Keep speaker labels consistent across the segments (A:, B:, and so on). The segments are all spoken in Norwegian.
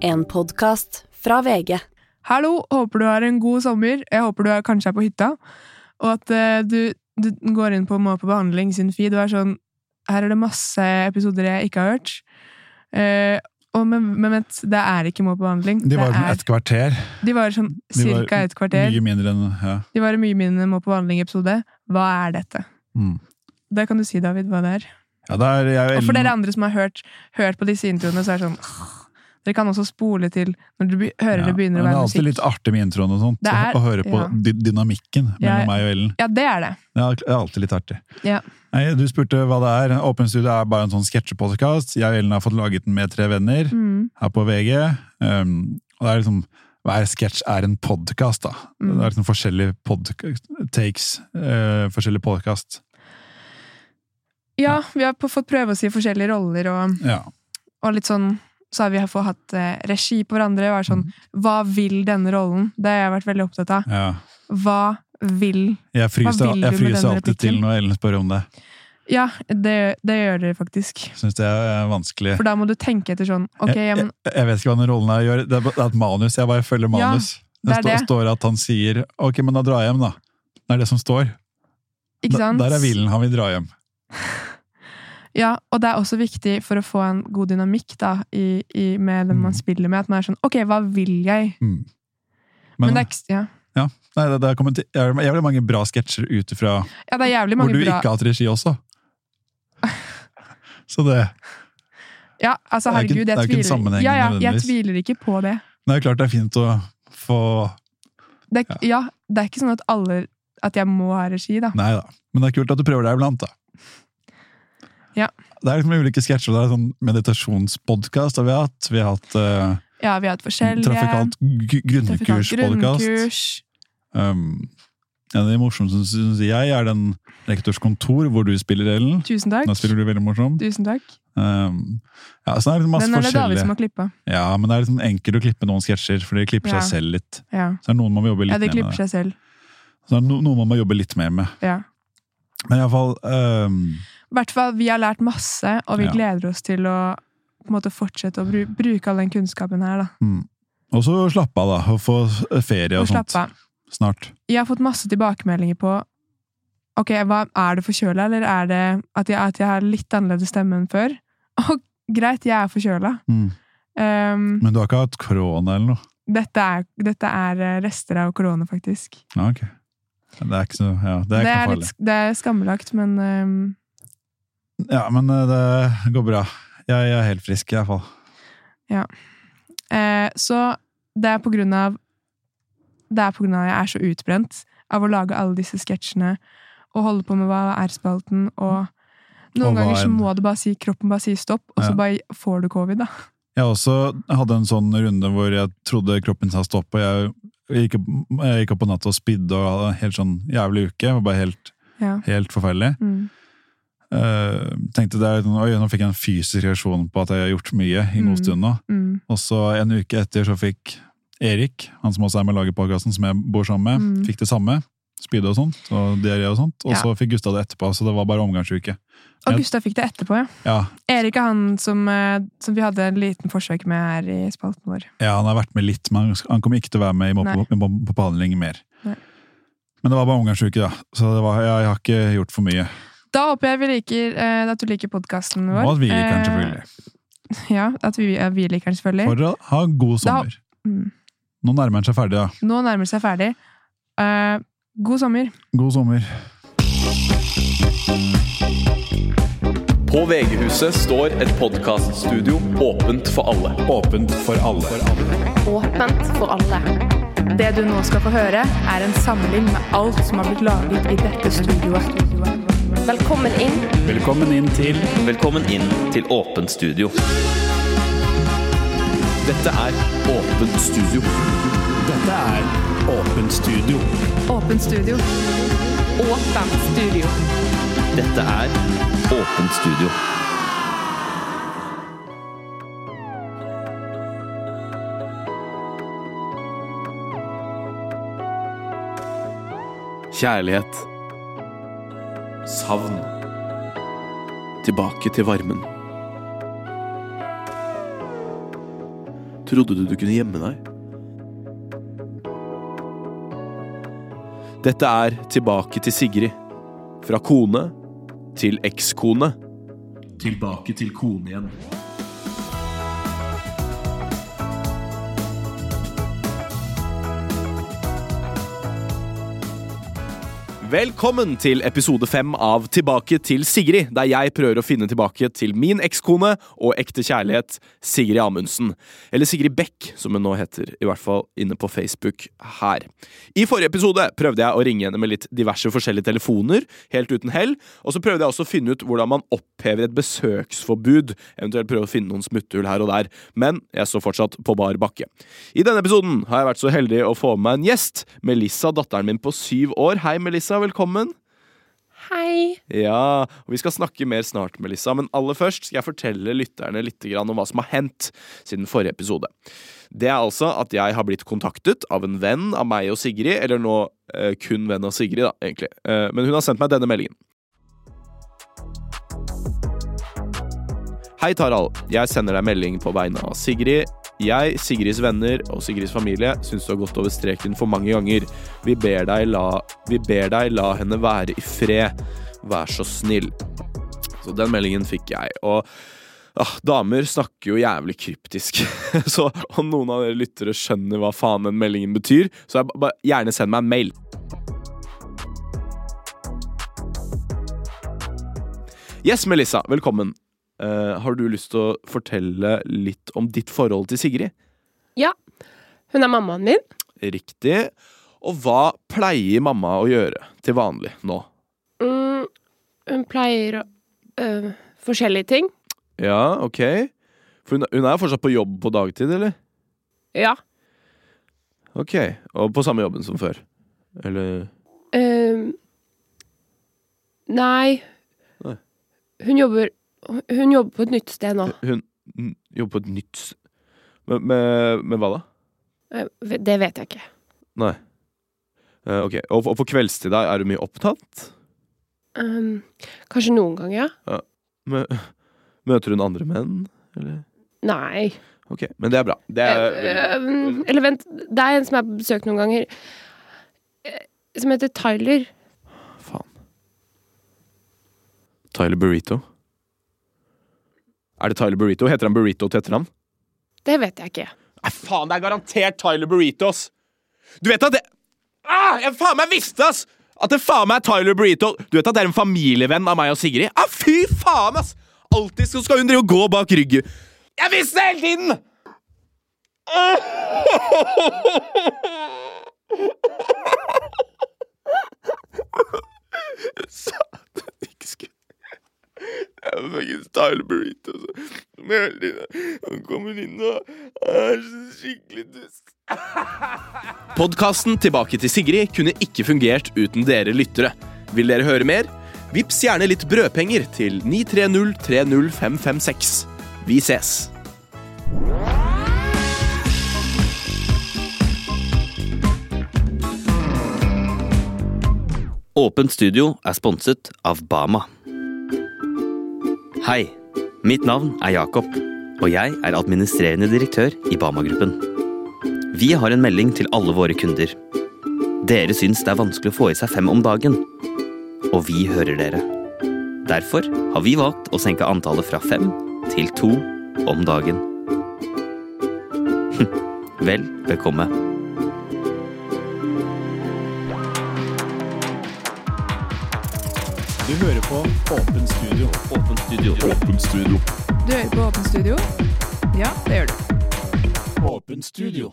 A: En podkast fra VG.
B: Hallo, håper du har en god sommer. Jeg håper du er, kanskje er på hytta. Og at eh, du, du går inn på Må på behandling sin feed og er sånn Her er det masse episoder jeg ikke har hørt. Eh, og men, men vent, det er ikke Må på behandling.
C: De var
B: det
C: sånn
B: er,
C: et kvarter.
B: de var sånn
C: de var
B: cirka et kvarter.
C: Mye mindre enn ja.
B: De var en mye mindre Må på behandling-episode. Hva er dette?
C: Mm.
B: Det kan du si, David, hva det er.
C: ja da er jeg
B: Og
C: og
B: for
C: Ellen
B: dere andre som har hørt, hørt på disse introene, så er det sånn «Åh». Dere kan også spole til når dere be- hører det begynner å
C: men Det
B: være
C: er alltid
B: musikk.
C: litt artig med introen og sånt.
B: Det er-
C: å høre på
B: ja.
C: dy- dynamikken mellom
B: Jeg-
C: meg og Ellen.
B: Ja, det er det.
C: Det er det er alltid litt artig.
B: Ja.
C: Nei, du spurte hva det er. Åpen studio er bare en sånn sketsjepodkast. Jeg og Ellen har fått laget den med tre venner
B: Mm.
C: her på VG. Um, og det er liksom hver sketsj er en podkast, da.
B: Mm.
C: Det er liksom forskjellige podk- takes. eh, forskjellige podkast.
B: Ja, vi har på- fått prøve oss i forskjellige roller, og,
C: Ja.
B: og litt sånn så har vi fått hatt eh, regi på hverandre. Og er sånn,
C: Mm.
B: Hva vil denne rollen? Det har jeg vært veldig opptatt av.
C: ja.
B: Hva vil
C: Jeg
B: Hva
C: fryser,
B: vil du
C: jeg
B: med
C: fryser
B: den
C: alltid til
B: replikken?
C: når Ellen spør om det.
B: Ja, det, det gjør dere faktisk.
C: Syns det er eh, vanskelig.
B: For da må du tenke etter sånn Ok, ja, men
C: jeg, jeg vet ikke hva den rollen her gjør. Det er bare- det er et manus. Jeg bare følger
B: Ja,
C: manus.
B: det
C: det
B: er det.
C: stå- står at han sier 'ok, men da drar jeg hjem', da. Det er det som står.
B: Ikke sant?
C: Der, der er hvilen. Han vil dra hjem.
B: Ja, og det er også viktig for å få en god dynamikk da, i, i, med den man
C: Mm.
B: spiller med. At man er sånn Ok, hva vil jeg?
C: Mm.
B: Men,
C: Men,
B: det, er, ikke- ja.
C: nei, det, det er kommet, det er jævlig mange bra sketsjer ut ifra
B: ja, det er jævlig
C: hvor
B: mange
C: du
B: bra
C: ikke har hatt regi også. Så det,
B: Ja, altså,
C: Det er ikke-
B: herregud,
C: det er
B: jeg
C: ikke en
B: tviler
C: sammenheng
B: Ja, ja, jeg
C: nødvendigvis.
B: tviler ikke på det.
C: men det er klart det er fint å få
B: Det er, ikke- ja, det er ikke sånn at alle At jeg må ha regi, da.
C: Nei da. Men det er kult at du prøver deg iblant, da.
B: Ja.
C: Det er liksom ulike sketsjer. Det er sånn meditasjonspodkast har vi hatt. Vi har hatt eh,
B: Ja, vi har hatt forskjellige
C: Trafikalt gr-
B: trafikant
C: grunnkurs-podkast.
B: grunnkurs.
C: Um, en av de morsomste syns jeg er den Rektors kontor, hvor du spiller Ellen.
B: Tusen takk.
C: Da spiller du veldig morsom.
B: Tusen takk.
C: Um, ja, så det er liksom masse
B: Den er det David som
C: forskjellige.
B: har klippa.
C: Ja, men det er liksom enkelt å klippe noen sketsjer, for de klipper
B: Ja.
C: seg selv litt.
B: Ja.
C: Så det er noen man må jobbe litt
B: ja, de
C: mer
B: klipper
C: med.
B: seg selv.
C: Så det er no noen man må jobbe litt mer med.
B: Ja.
C: Men i alle fall um,
B: I hvert fall, vi har lært masse, og vi
C: Ja.
B: gleder oss til å på en måte fortsette å bru bruke all den kunnskapen her, da.
C: mm. Og så slappe av, da. Og få ferie og,
B: Og
C: sånt.
B: slappe av.
C: Snart.
B: Jeg har fått masse tilbakemeldinger på Ok, hva, er du forkjøla, eller er det at jeg, at jeg har litt annerledes stemme enn før? Og greit, jeg er forkjøla.
C: Mm.
B: Um,
C: Men du har ikke hatt korona eller noe?
B: Dette er, dette er eh, rester av korona, faktisk.
C: Ja, ok. Det er ikke så ja, Det er ikke noe farlig.
B: litt, det er skambelagt, men ehm,
C: Ja, men eh, det går bra. Jeg, jeg er helt frisk, i hvert fall.
B: eh, Så det er på grunn av Det er på grunn av at jeg er så utbrent av å lage alle disse sketsjene og holde på med hva er spalten, og noen
C: Og hva
B: ganger så
C: enn.
B: må det bare si kroppen bare sier stopp, og så
C: Ja.
B: bare får du covid, da.
C: Jeg også hadde en sånn runde hvor jeg trodde kroppen sa stopp, og jeg gikk, opp- jeg gikk opp på natta og spydde og hadde en helt sånn jævlig uke. Det var bare helt,
B: Ja.
C: helt forferdelig.
B: Mm.
C: Eh, tenkte det er, sånn, Oi, nå fikk jeg en fysisk reaksjon på at jeg har gjort mye i
B: Mm.
C: noen stund nå.
B: Mm.
C: Og så en uke etter så fikk Erik, han som også er med i Lagerpodkasten, som jeg bor sammen med,
B: Mm.
C: fikk det samme. Spydde og sånt, og diaré og sånt. Og
B: Ja.
C: så fikk Gustav det etterpå, så det var bare omgangsuke.
B: Og
C: Jeg-
B: Gustav fikk det etterpå, ja.
C: Ja,
B: Erik er han som, eh, som vi hadde en liten forsøk med her i spalten vår.
C: Ja, han har vært med litt, men han sk- han kommer ikke til å være med i mobb-
B: Nei.
C: mobb- på behandling mer.
B: Nei.
C: Men det var bare omgangsuke, da. Så det var, jeg, jeg har ikke gjort for mye.
B: Da håper jeg vi liker, eh, at du liker podkasten vår.
C: Og at vi liker den,
B: Eh,
C: selvfølgelig.
B: Ja, at vi, ja, vi liker den selvfølgelig.
C: For å ha en god
B: eh, Da-
C: sommer.
B: Mm.
C: Nå nærmer den seg ferdig, da.
B: Nå nærmer det seg ferdig. Eh, god sommer.
C: God sommer.
D: På VG-huset står et podkaststudio åpent for alle. Åpent for alle.
E: Åpent for alle.
B: Det du nå skal få høre, er en samling med alt som har blitt laget i dette studioet.
E: Velkommen inn.
D: Velkommen inn til Velkommen inn til Åpent studio. Dette er Åpent studio. Dette er Åpent studio.
B: Åpent studio.
E: Åpent studio.
D: Dette er Åpent studio. Kjærlighet. Savn. Tilbake til varmen. Trodde du du kunne gjemme deg? Dette er Tilbake til Sigrid. Fra kone til ekskone. Tilbake til kone igjen. Velkommen til episode fem av Tilbake til Sigrid, der jeg prøver å finne tilbake til min ekskone og ekte kjærlighet, Sigrid Amundsen. Eller Sigrid Beck, som hun nå heter, i hvert fall inne på Facebook her. I forrige episode prøvde jeg å ringe henne med litt diverse forskjellige telefoner, helt uten hell, og så prøvde jeg også å finne ut hvordan man opphever et besøksforbud, eventuelt prøve å finne noen smutthull her og der, men jeg står fortsatt på bar bakke. I denne episoden har jeg vært så heldig å få med meg en gjest, Melissa, datteren min på syv år. Hei, Melissa, velkommen.
E: Hei.
D: Ja, og Vi skal snakke mer snart, Melissa, men aller først skal jeg fortelle lytterne litt grann om hva som har hendt siden forrige episode. Det er altså at jeg har blitt kontaktet av en venn av meg og Sigrid, eller nå eh, kun venn av Sigrid, da, egentlig. Eh, men hun har sendt meg denne meldingen. Hei, Tarald. Jeg sender deg melding på vegne av Sigrid. Jeg, Sigrids venner og Sigrids familie syns du har gått over streken for mange ganger. Vi ber deg la, vi ber deg la henne være i fred. Vær så snill. Så den meldingen fikk jeg. Og ah, damer snakker jo jævlig kryptisk. så om noen av dere lyttere skjønner hva faen den meldingen betyr, så jeg, ba- ba- gjerne send meg en mail. Yes, Melissa, velkommen. Eh, har du lyst til å fortelle litt om ditt forhold til Sigrid?
E: Hun er mammaen min.
D: Riktig. Og hva pleier mamma å gjøre til vanlig nå?
E: Mm, hun pleier å øh, Forskjellige ting.
D: Ja, ok. For hun, hun er jo fortsatt på jobb på dagtid, eller?
E: Ja.
D: Ok, og på samme jobben som før. Eller
E: Øhm, Ehm, nei.
D: Nei.
E: Hun jobber Hun jobber på et nytt sted nå.
D: Hun n- jobber på et nytt s- Med, med, med hva da?
E: Øh, Det vet jeg ikke.
D: Nei. Eh, ok, og, og på kveldstid da, er du mye opptatt?
E: Øhm, Ehm, kanskje noen ganger, ja.
D: Mø- møter hun andre menn? Eller?
E: Nei.
D: Ok, men det er bra. Det
E: Eh,
D: er, veldig-
E: Øhm, eller vent, det er en som jeg har besøkt noen ganger, eh, som heter Tyler.
D: Faen. Tyler Burrito? Er det Tyler Burrito? Heter han Burrito til etternavn?
E: Det vet jeg ikke.
D: Nei, faen, det er garantert Tyler Burrito, ass! Du vet at det ah, Jeg faen meg visste, ass! At det faen meg er Tyler Burrito. Du vet at det er en familievenn av meg og Sigrid? Ah, fy faen, ass! Alltid så skal hun drive og gå bak ryggen. Jeg visste det hele tiden! Jeg sa at jeg ikke skulle jeg er fucking style burrito, så. Som jeg hele tiden. Han kommer inn og er så skikkelig dust. Podkasten Tilbake til Sigrid kunne ikke fungert uten dere lyttere. Vil dere høre mer? Vips gjerne litt brødpenger til 930 30556. Vi ses!
F: Åpent studio er sponset av Bama. Hei, mitt navn er Jakob, og jeg er administrerende direktør i Bama-gruppen. Vi har en melding til alle våre kunder. Dere syns det er vanskelig å få i seg fem om dagen, og vi hører dere. Derfor har vi valgt å senke antallet fra fem til to om dagen. Hm, Vel bekomme.
C: Du hører på Åpen studio.
F: Åpent studio.
B: Du hører på Åpen studio? Ja, det gjør du.
C: Åpen studio.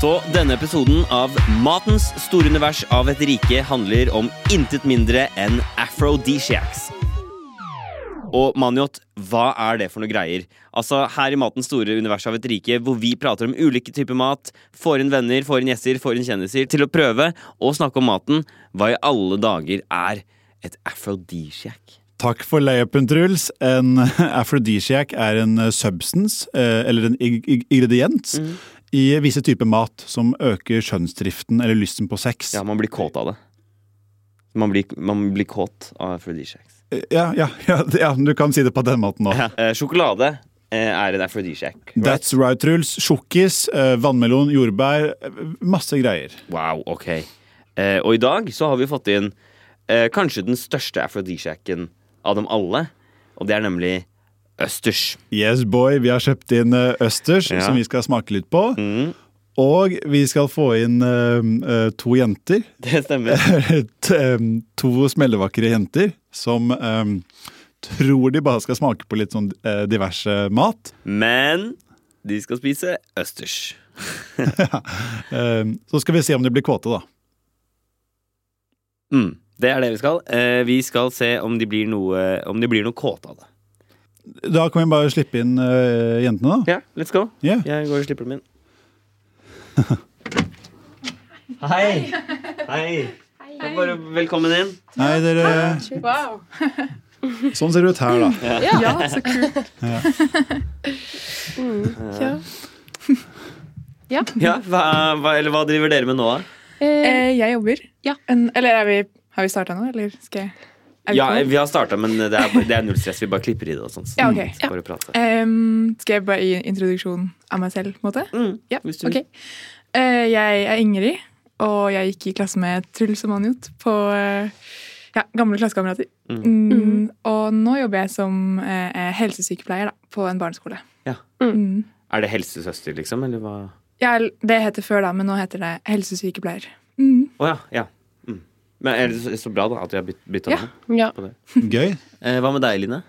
F: Så denne episoden av Matens store univers av et rike handler om intet mindre enn afrodisiacs. Og Maniot, hva er det for noe greier? Altså, Her i Matens store univers av et rike, hvor vi prater om ulike typer mat, får inn venner, får inn gjester, får inn kjendiser til å prøve å snakke om maten, hva i alle dager er et afrodisiac?
C: Takk for layupen, Truls. En aphrodisiac er en substance, eh, eller en ing- ing- ingrediens,
B: Mm.
C: i visse typer mat som øker skjønnsdriften eller lysten på sex.
F: Ja, man blir kåt av det. Man blir, man blir kåt av aphrodisiacs.
C: Eh, Ja, ja, ja, ja, du kan si det på den måten òg.
F: Eh, sjokolade eh, er en aphrodisiac. Right?
C: That's right, Truls. Sjokkis, eh, vannmelon, jordbær. eh, Masse greier.
F: Wow, ok. Eh, og i dag så har vi fått inn eh, kanskje den største aphrodisiacen av dem alle. Og det er nemlig østers.
C: Yes, boy. Vi har kjøpt inn eh, østers,
F: Ja.
C: som vi skal smake litt på.
F: Mm,
C: Og vi skal få inn eh, eh, to jenter.
F: det stemmer.
C: Et, eh, to smellevakre jenter som eh, tror de bare skal smake på litt sånn eh, diverse mat.
F: Men de skal spise østers.
C: Eh, så skal vi se om de blir kåte, da.
F: Mm, det er det vi skal. Eh, vi skal se om de blir noe, om de blir noe kåte av det.
C: Da kan vi bare slippe inn eh, jentene, da.
F: Ja, let's go.
C: Ja.
F: Jeg går og slipper dem inn. Hei. Hei. Bare velkommen inn.
C: Nei, dere
B: Wow.
C: Sånn ser det ut her, da.
B: Ja, så kult.
F: Ja, hva, hva, eller hva driver dere med nå, da?
E: Eh,
B: Eh, jeg jobber.
E: Ja.
B: En, eller er vi, har vi starta nå, eller skal jeg er vi
F: Ja,
B: på?
F: vi har starta, men det er, det er null stress. Vi bare klipper i det og sånt.
B: Ja, Eh, ok.
F: Så Bare prate.
B: Em, skal jeg bare gi en introduksjon av meg selv? på en måte?
F: Mm,
B: Ja,
F: hvis du vil.
B: ok. Eh, jeg er Ingrid, og jeg gikk i klasse med Truls og Manjot på eh, ja, gamle klassekamerater.
F: Mm.
B: Mm, Og nå jobber jeg som eh, helsesykepleier da, på en barneskole.
F: Ja.
B: Mm.
F: Er det helsesøster, liksom? Eller hva? Å
B: Ja, eller det heter før da, men nå heter det helsesykepleier. Mm.
F: ja. ja. Mm. Men er det så, så bra, da, at vi har bytta
B: Ja.
F: navn.
E: ja.
C: Gøy.
F: Eh, hva med deg, Line?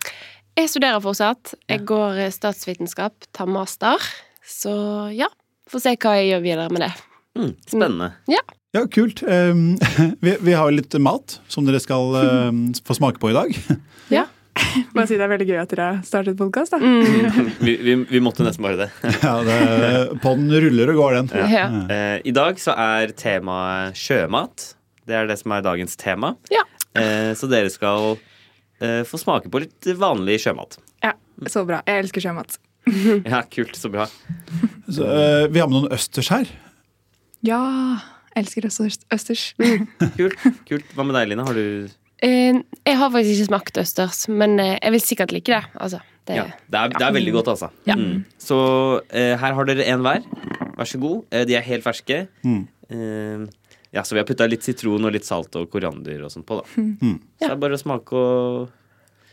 E: Jeg studerer fortsatt. Jeg går eh, statsvitenskap, tar master. Så ja, får se hva jeg gjør videre med det.
F: Mm, spennende.
C: Ja, kult. Um, vi, vi har litt mat som dere skal um, få smake på i dag.
B: Bare si det er veldig gøy at dere har startet podkast. da. Mm.
F: Vi, vi, vi måtte nesten bare det.
C: Ja, det, Podden ruller og går, den.
E: Ja.
F: Eh, I dag så er temaet sjømat. Det er det som er dagens tema.
E: Ja.
F: Eh, så dere skal eh, få smake på litt vanlig sjømat.
B: Ja, Så bra. Jeg elsker sjømat. Mm.
F: Ja, kult. Så bra.
C: Så, uh, vi har med noen østers her.
B: Ja, elsker østers. østers.
F: Kult. kult. Hva med deg, Line? Har du
E: Eh, jeg har faktisk ikke smakt østers, men eh, jeg vil sikkert like det. Altså, det
F: Ja, det er, det er veldig godt, altså. Mm. Så eh, her har dere en hver. Vær så god. Eh, de er helt ferske.
C: Mm.
F: Eh, ja, så vi har putta litt sitron og litt salt og koriander og sånt på, da. Så det er bare å smake og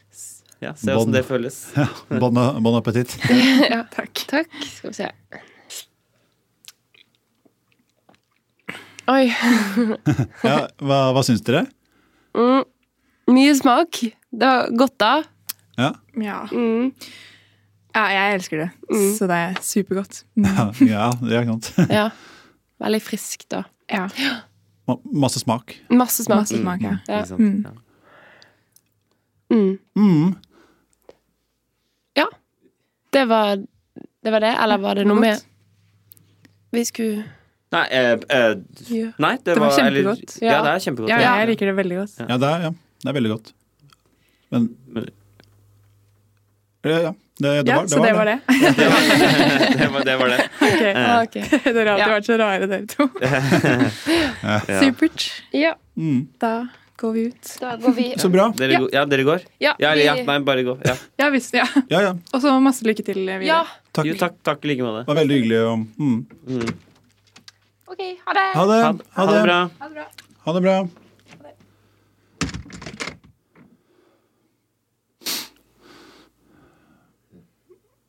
F: s- ja, se
C: Bånd.
F: åssen det føles.
C: Ja, Bon, bon appétit.
E: ja.
B: Takk.
E: Takk. Skal vi se. Oi.
C: Ja, hva, hva syns dere?
E: Mm. Mye smak. Det var godt, da.
C: Ja,
B: Ja.
E: Mm.
B: ja, jeg elsker det.
E: Mm.
B: Så det er supergodt. Mm.
C: ja, ja det er sant.
E: Ja. Veldig friskt, da.
B: Ja,
C: Ma- Masse smak.
E: Masse smak.
B: Masse smak, ja.
E: Ja.
F: Ikke sant? Ja.
E: Mm.
C: Mm.
E: Det, var, det var det, eller var det noe mer vi skulle
F: Nei, eh, eh,
E: gjøre?
F: nei, det,
B: Det var
F: eller-
B: kjempegodt.
F: ja.
E: Ja.
F: det er kjempegodt.
B: ja,
F: ja.
B: jeg liker det veldig godt.
C: Ja, det er, ja, det er veldig godt. Men Ja, ja. Det, det,
B: Ja,
C: var,
B: så det var det.
F: Det var det. Var, det, var det.
B: Ok.
E: Ah, ok.
B: Dere har alltid
E: Ja.
B: vært så rare, dere to.
F: Ja.
B: Supert.
C: Mm.
B: Da går vi ut.
E: Da går vi
C: Så bra.
F: Dere,
E: Ja.
F: go- ja, dere går?
E: Ja,
F: Ja, eller, ja,
E: vi-
F: nei, bare gå. Ja.
B: Ja visst. Ja.
C: Ja, ja.
B: Og så masse lykke til
E: ja.
B: videre.
C: Takk.
F: Jo, takk, takk i like
C: Det
F: måte.
C: var veldig hyggelig. å- Mm.
F: Mm.
E: OK, ha det.
C: Ha det.
F: Ha, ha det bra.
C: Ha det bra.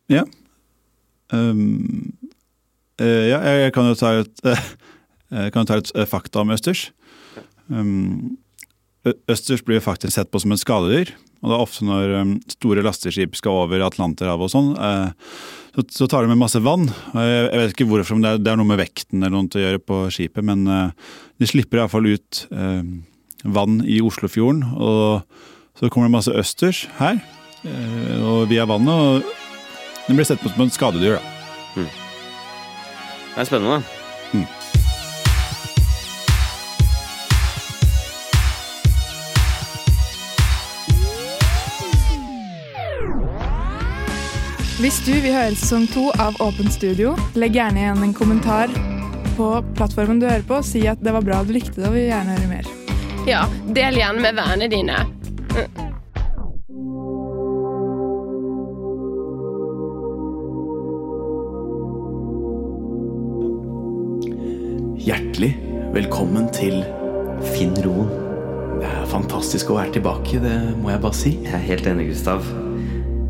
C: Ja. Ehm, eh, ja, jeg kan jo ta litt, kan jo ta litt eh, fakta om østers. Ehm, ø- østers blir faktisk sett på som en skadedyr. Og det er ofte når em, store lasteskip skal over Atlanterhavet og sånn, eh, så, så tar de med masse vann. Og Jeg, jeg vet ikke hvorfor, men det er, det er noe med vekten eller noe til å gjøre på skipet, men eh, de slipper iallfall ut eh, vann i Oslofjorden, og så kommer det masse østers her, eh, og via vannet, og den blir sett på som en skadedyr, da.
F: Det er spennende.
B: Hvis du vil høre sesong to av Åpent studio, legg gjerne igjen en kommentar på plattformen du hører på. Si at det var bra du likte det, og vil gjerne høre mer.
E: Ja, del gjerne med vennene dine.
D: Hjertelig velkommen til
G: Finn roen.
D: Det er fantastisk å være tilbake, det må jeg bare si.
G: Jeg er helt enig, Gustav.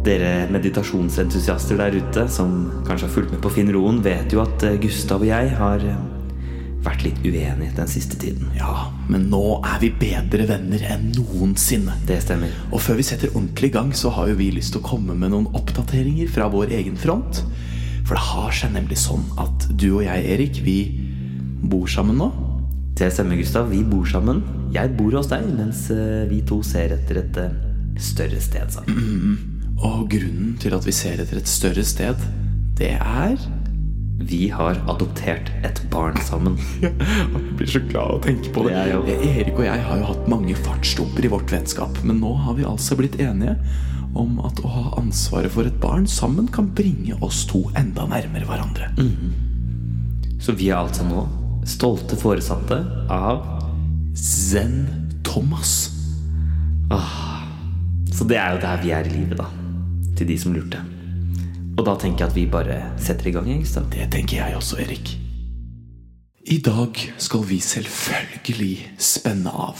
G: Dere meditasjonsentusiaster der ute som kanskje har fulgt med på Finn Roen, vet jo at eh, Gustav og jeg har eh, vært litt uenige den siste tiden.
H: Ja, men nå er vi bedre venner enn noensinne.
G: Det stemmer.
H: Og før vi setter ordentlig i gang, så har jo vi lyst til å komme med noen oppdateringer fra vår egen front. For det har seg nemlig sånn at du og jeg, Erik, vi bor sammen nå.
G: Det stemmer, Gustav. Vi bor sammen. Jeg bor hos deg, mens eh, vi to ser etter et eh, større sted sammen.
H: Og grunnen til at vi ser etter et større sted, det er
G: Vi har adoptert et barn sammen. Eh,
H: Jeg blir så glad av å tenke på det.
G: Jeg òg.
H: Erik og jeg har jo hatt mange fartsdumper i vårt vennskap, men nå har vi altså blitt enige om at å ha ansvaret for et barn sammen kan bringe oss to enda nærmere hverandre.
G: Så vi er altså nå stolte foresatte av
H: Zen Thomas.
G: Så det er jo der vi er i livet, da. Til de som lurte. Og da tenker jeg at vi bare setter i gang, jeg, Gustav.
H: Det tenker jeg også, Erik. I dag skal vi selvfølgelig spenne av.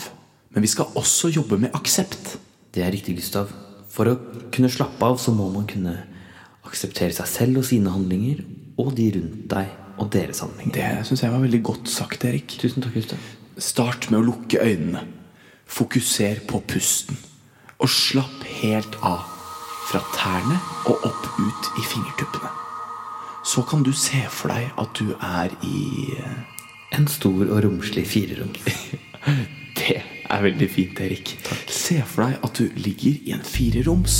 H: Men vi skal også jobbe med aksept.
G: Det er riktig, Gustav. For å kunne slappe av, så må man kunne akseptere seg selv og sine handlinger, og de rundt deg og deres handlinger.
H: Det syns jeg var veldig godt sagt, Erik.
G: Tusen takk, Gustav.
H: Start med å lukke øynene. Fokuser på pusten. Og slapp helt av. Fra tærne og opp ut i fingertuppene. Så kan du se for deg at du er i eh,
G: En stor og romslig fireroms.
H: Det er veldig fint, Erik. Se for deg at du ligger i en fireroms,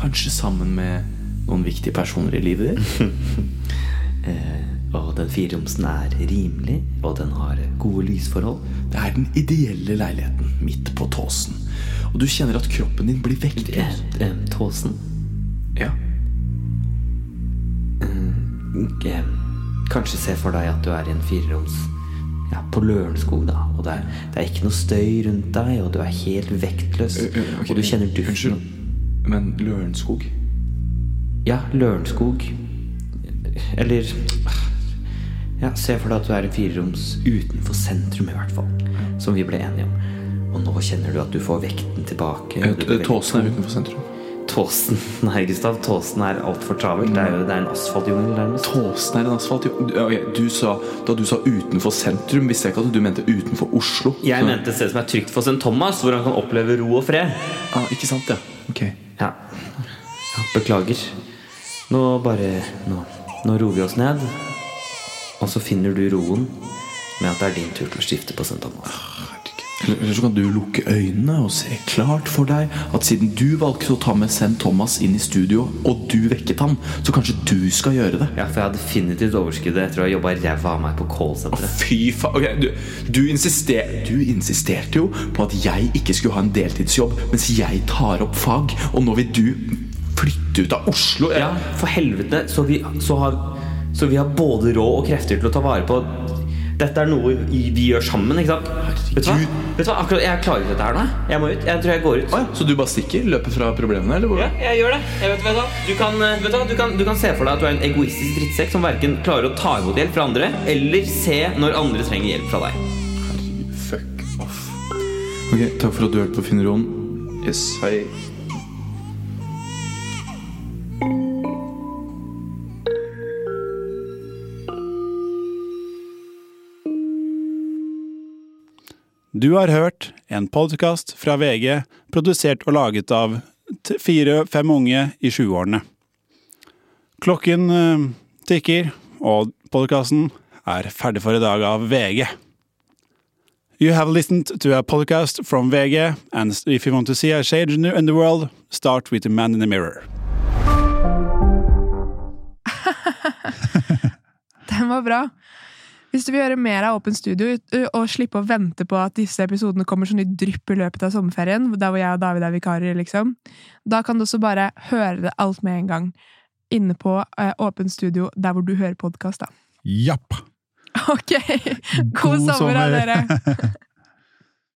H: kanskje sammen med noen viktige personer i livet ditt.
G: og den fireromsen er rimelig, og den har gode lysforhold.
H: Det er den ideelle leiligheten midt på tåsen. Og du kjenner at kroppen din blir vekket.
G: Eh, eh, Tåsen
H: Ja.
G: eh, Kanskje se for deg at du er i en fireroms ja, på Lørenskog, da. Og det er, det er ikke noe støy rundt deg, og du er helt vektløs. og du kjenner duften.
H: Eh, Unnskyld, men Lørenskog?
G: Ja, Lørenskog. Eller ja, Se for deg at du er i fireroms utenfor sentrum, i hvert fall. Som vi ble enige om. Og nå kjenner du at du får vekten tilbake.
H: Eh,
G: og du
H: t-
G: blir
H: Tåsen er utenfor sentrum.
G: veldig- Tåsen. Nei, Gustav. Tåsen er altfor travelt. Det er jo det er en asfaltjungel nærmest.
H: Tåsen er en asfalt. jo. Du- ok, Du sa, da du sa utenfor sentrum, visste jeg ikke at du mente utenfor Oslo.
G: Jeg
H: Så-
G: mente et sted som er trygt for St. Thomas, hvor han kan oppleve ro og fred.
H: ah, Ikke sant, ja. Ok.
G: Ja. ja beklager. Nå bare nå, nå roer vi oss ned. Og så finner du roen med at det er din tur til å skifte på St. Thomas.
H: Eller eller så kan du lukke øynene og se klart for deg at siden du valgte å ta med St. Thomas inn i studio, og du vekket ham, så kanskje du skal gjøre det.
G: Ja, for jeg har definitivt overskuddet etter å ha jobba ræva av meg på callsenteret.
H: Fy faen. du, du, insister, du insisterte jo på at jeg ikke skulle ha en deltidsjobb mens jeg tar opp fag, og nå vil du flytte ut av Oslo.
G: Ja, for helvete! Så vi, så, har, så vi har både råd og krefter til å ta vare på Dette er noe i- vi gjør sammen, ikke sant? Vet du hva? Vet du hva? Akkurat, jeg klarer ikke dette her nå. jeg. Jeg må ut. Jeg tror jeg går ut.
H: Å ja, så du bare stikker? Løper fra problemene, eller
G: Ja,
H: hvordan?
G: jeg gjør det. Jeg vet, vet du, hva? du, kan, eh, vet du, hva? du, kan, du kan se for deg at du er en egoistisk drittsekk som verken klarer å ta imot hjelp fra andre, eller se når andre trenger hjelp fra deg.
H: Fuck off. Ok, takk for at du hørte på Finneroen. Yes, hei.
C: Du har hørt en podkast fra VG, produsert og laget av t- fire-fem unge i 20-årene. Klokken eh, tikker, og podkasten er ferdig for i dag av VG. You have listened to a podcast from VG, and if you want to see a change in the- in the world, start with the man in the mirror.
B: Den var bra. Hvis du vil gjøre mer av Åpen studio ut- ø, og slippe å vente på at disse episodene kommer sånn i drypp i løpet av sommerferien, der hvor jeg og David er vikarer, liksom, da kan du også bare høre det alt med en gang inne på eh, Åpen studio der hvor du hører podkast, da.
I: Japp.
B: Ok! God, sommer, sommer. av dere!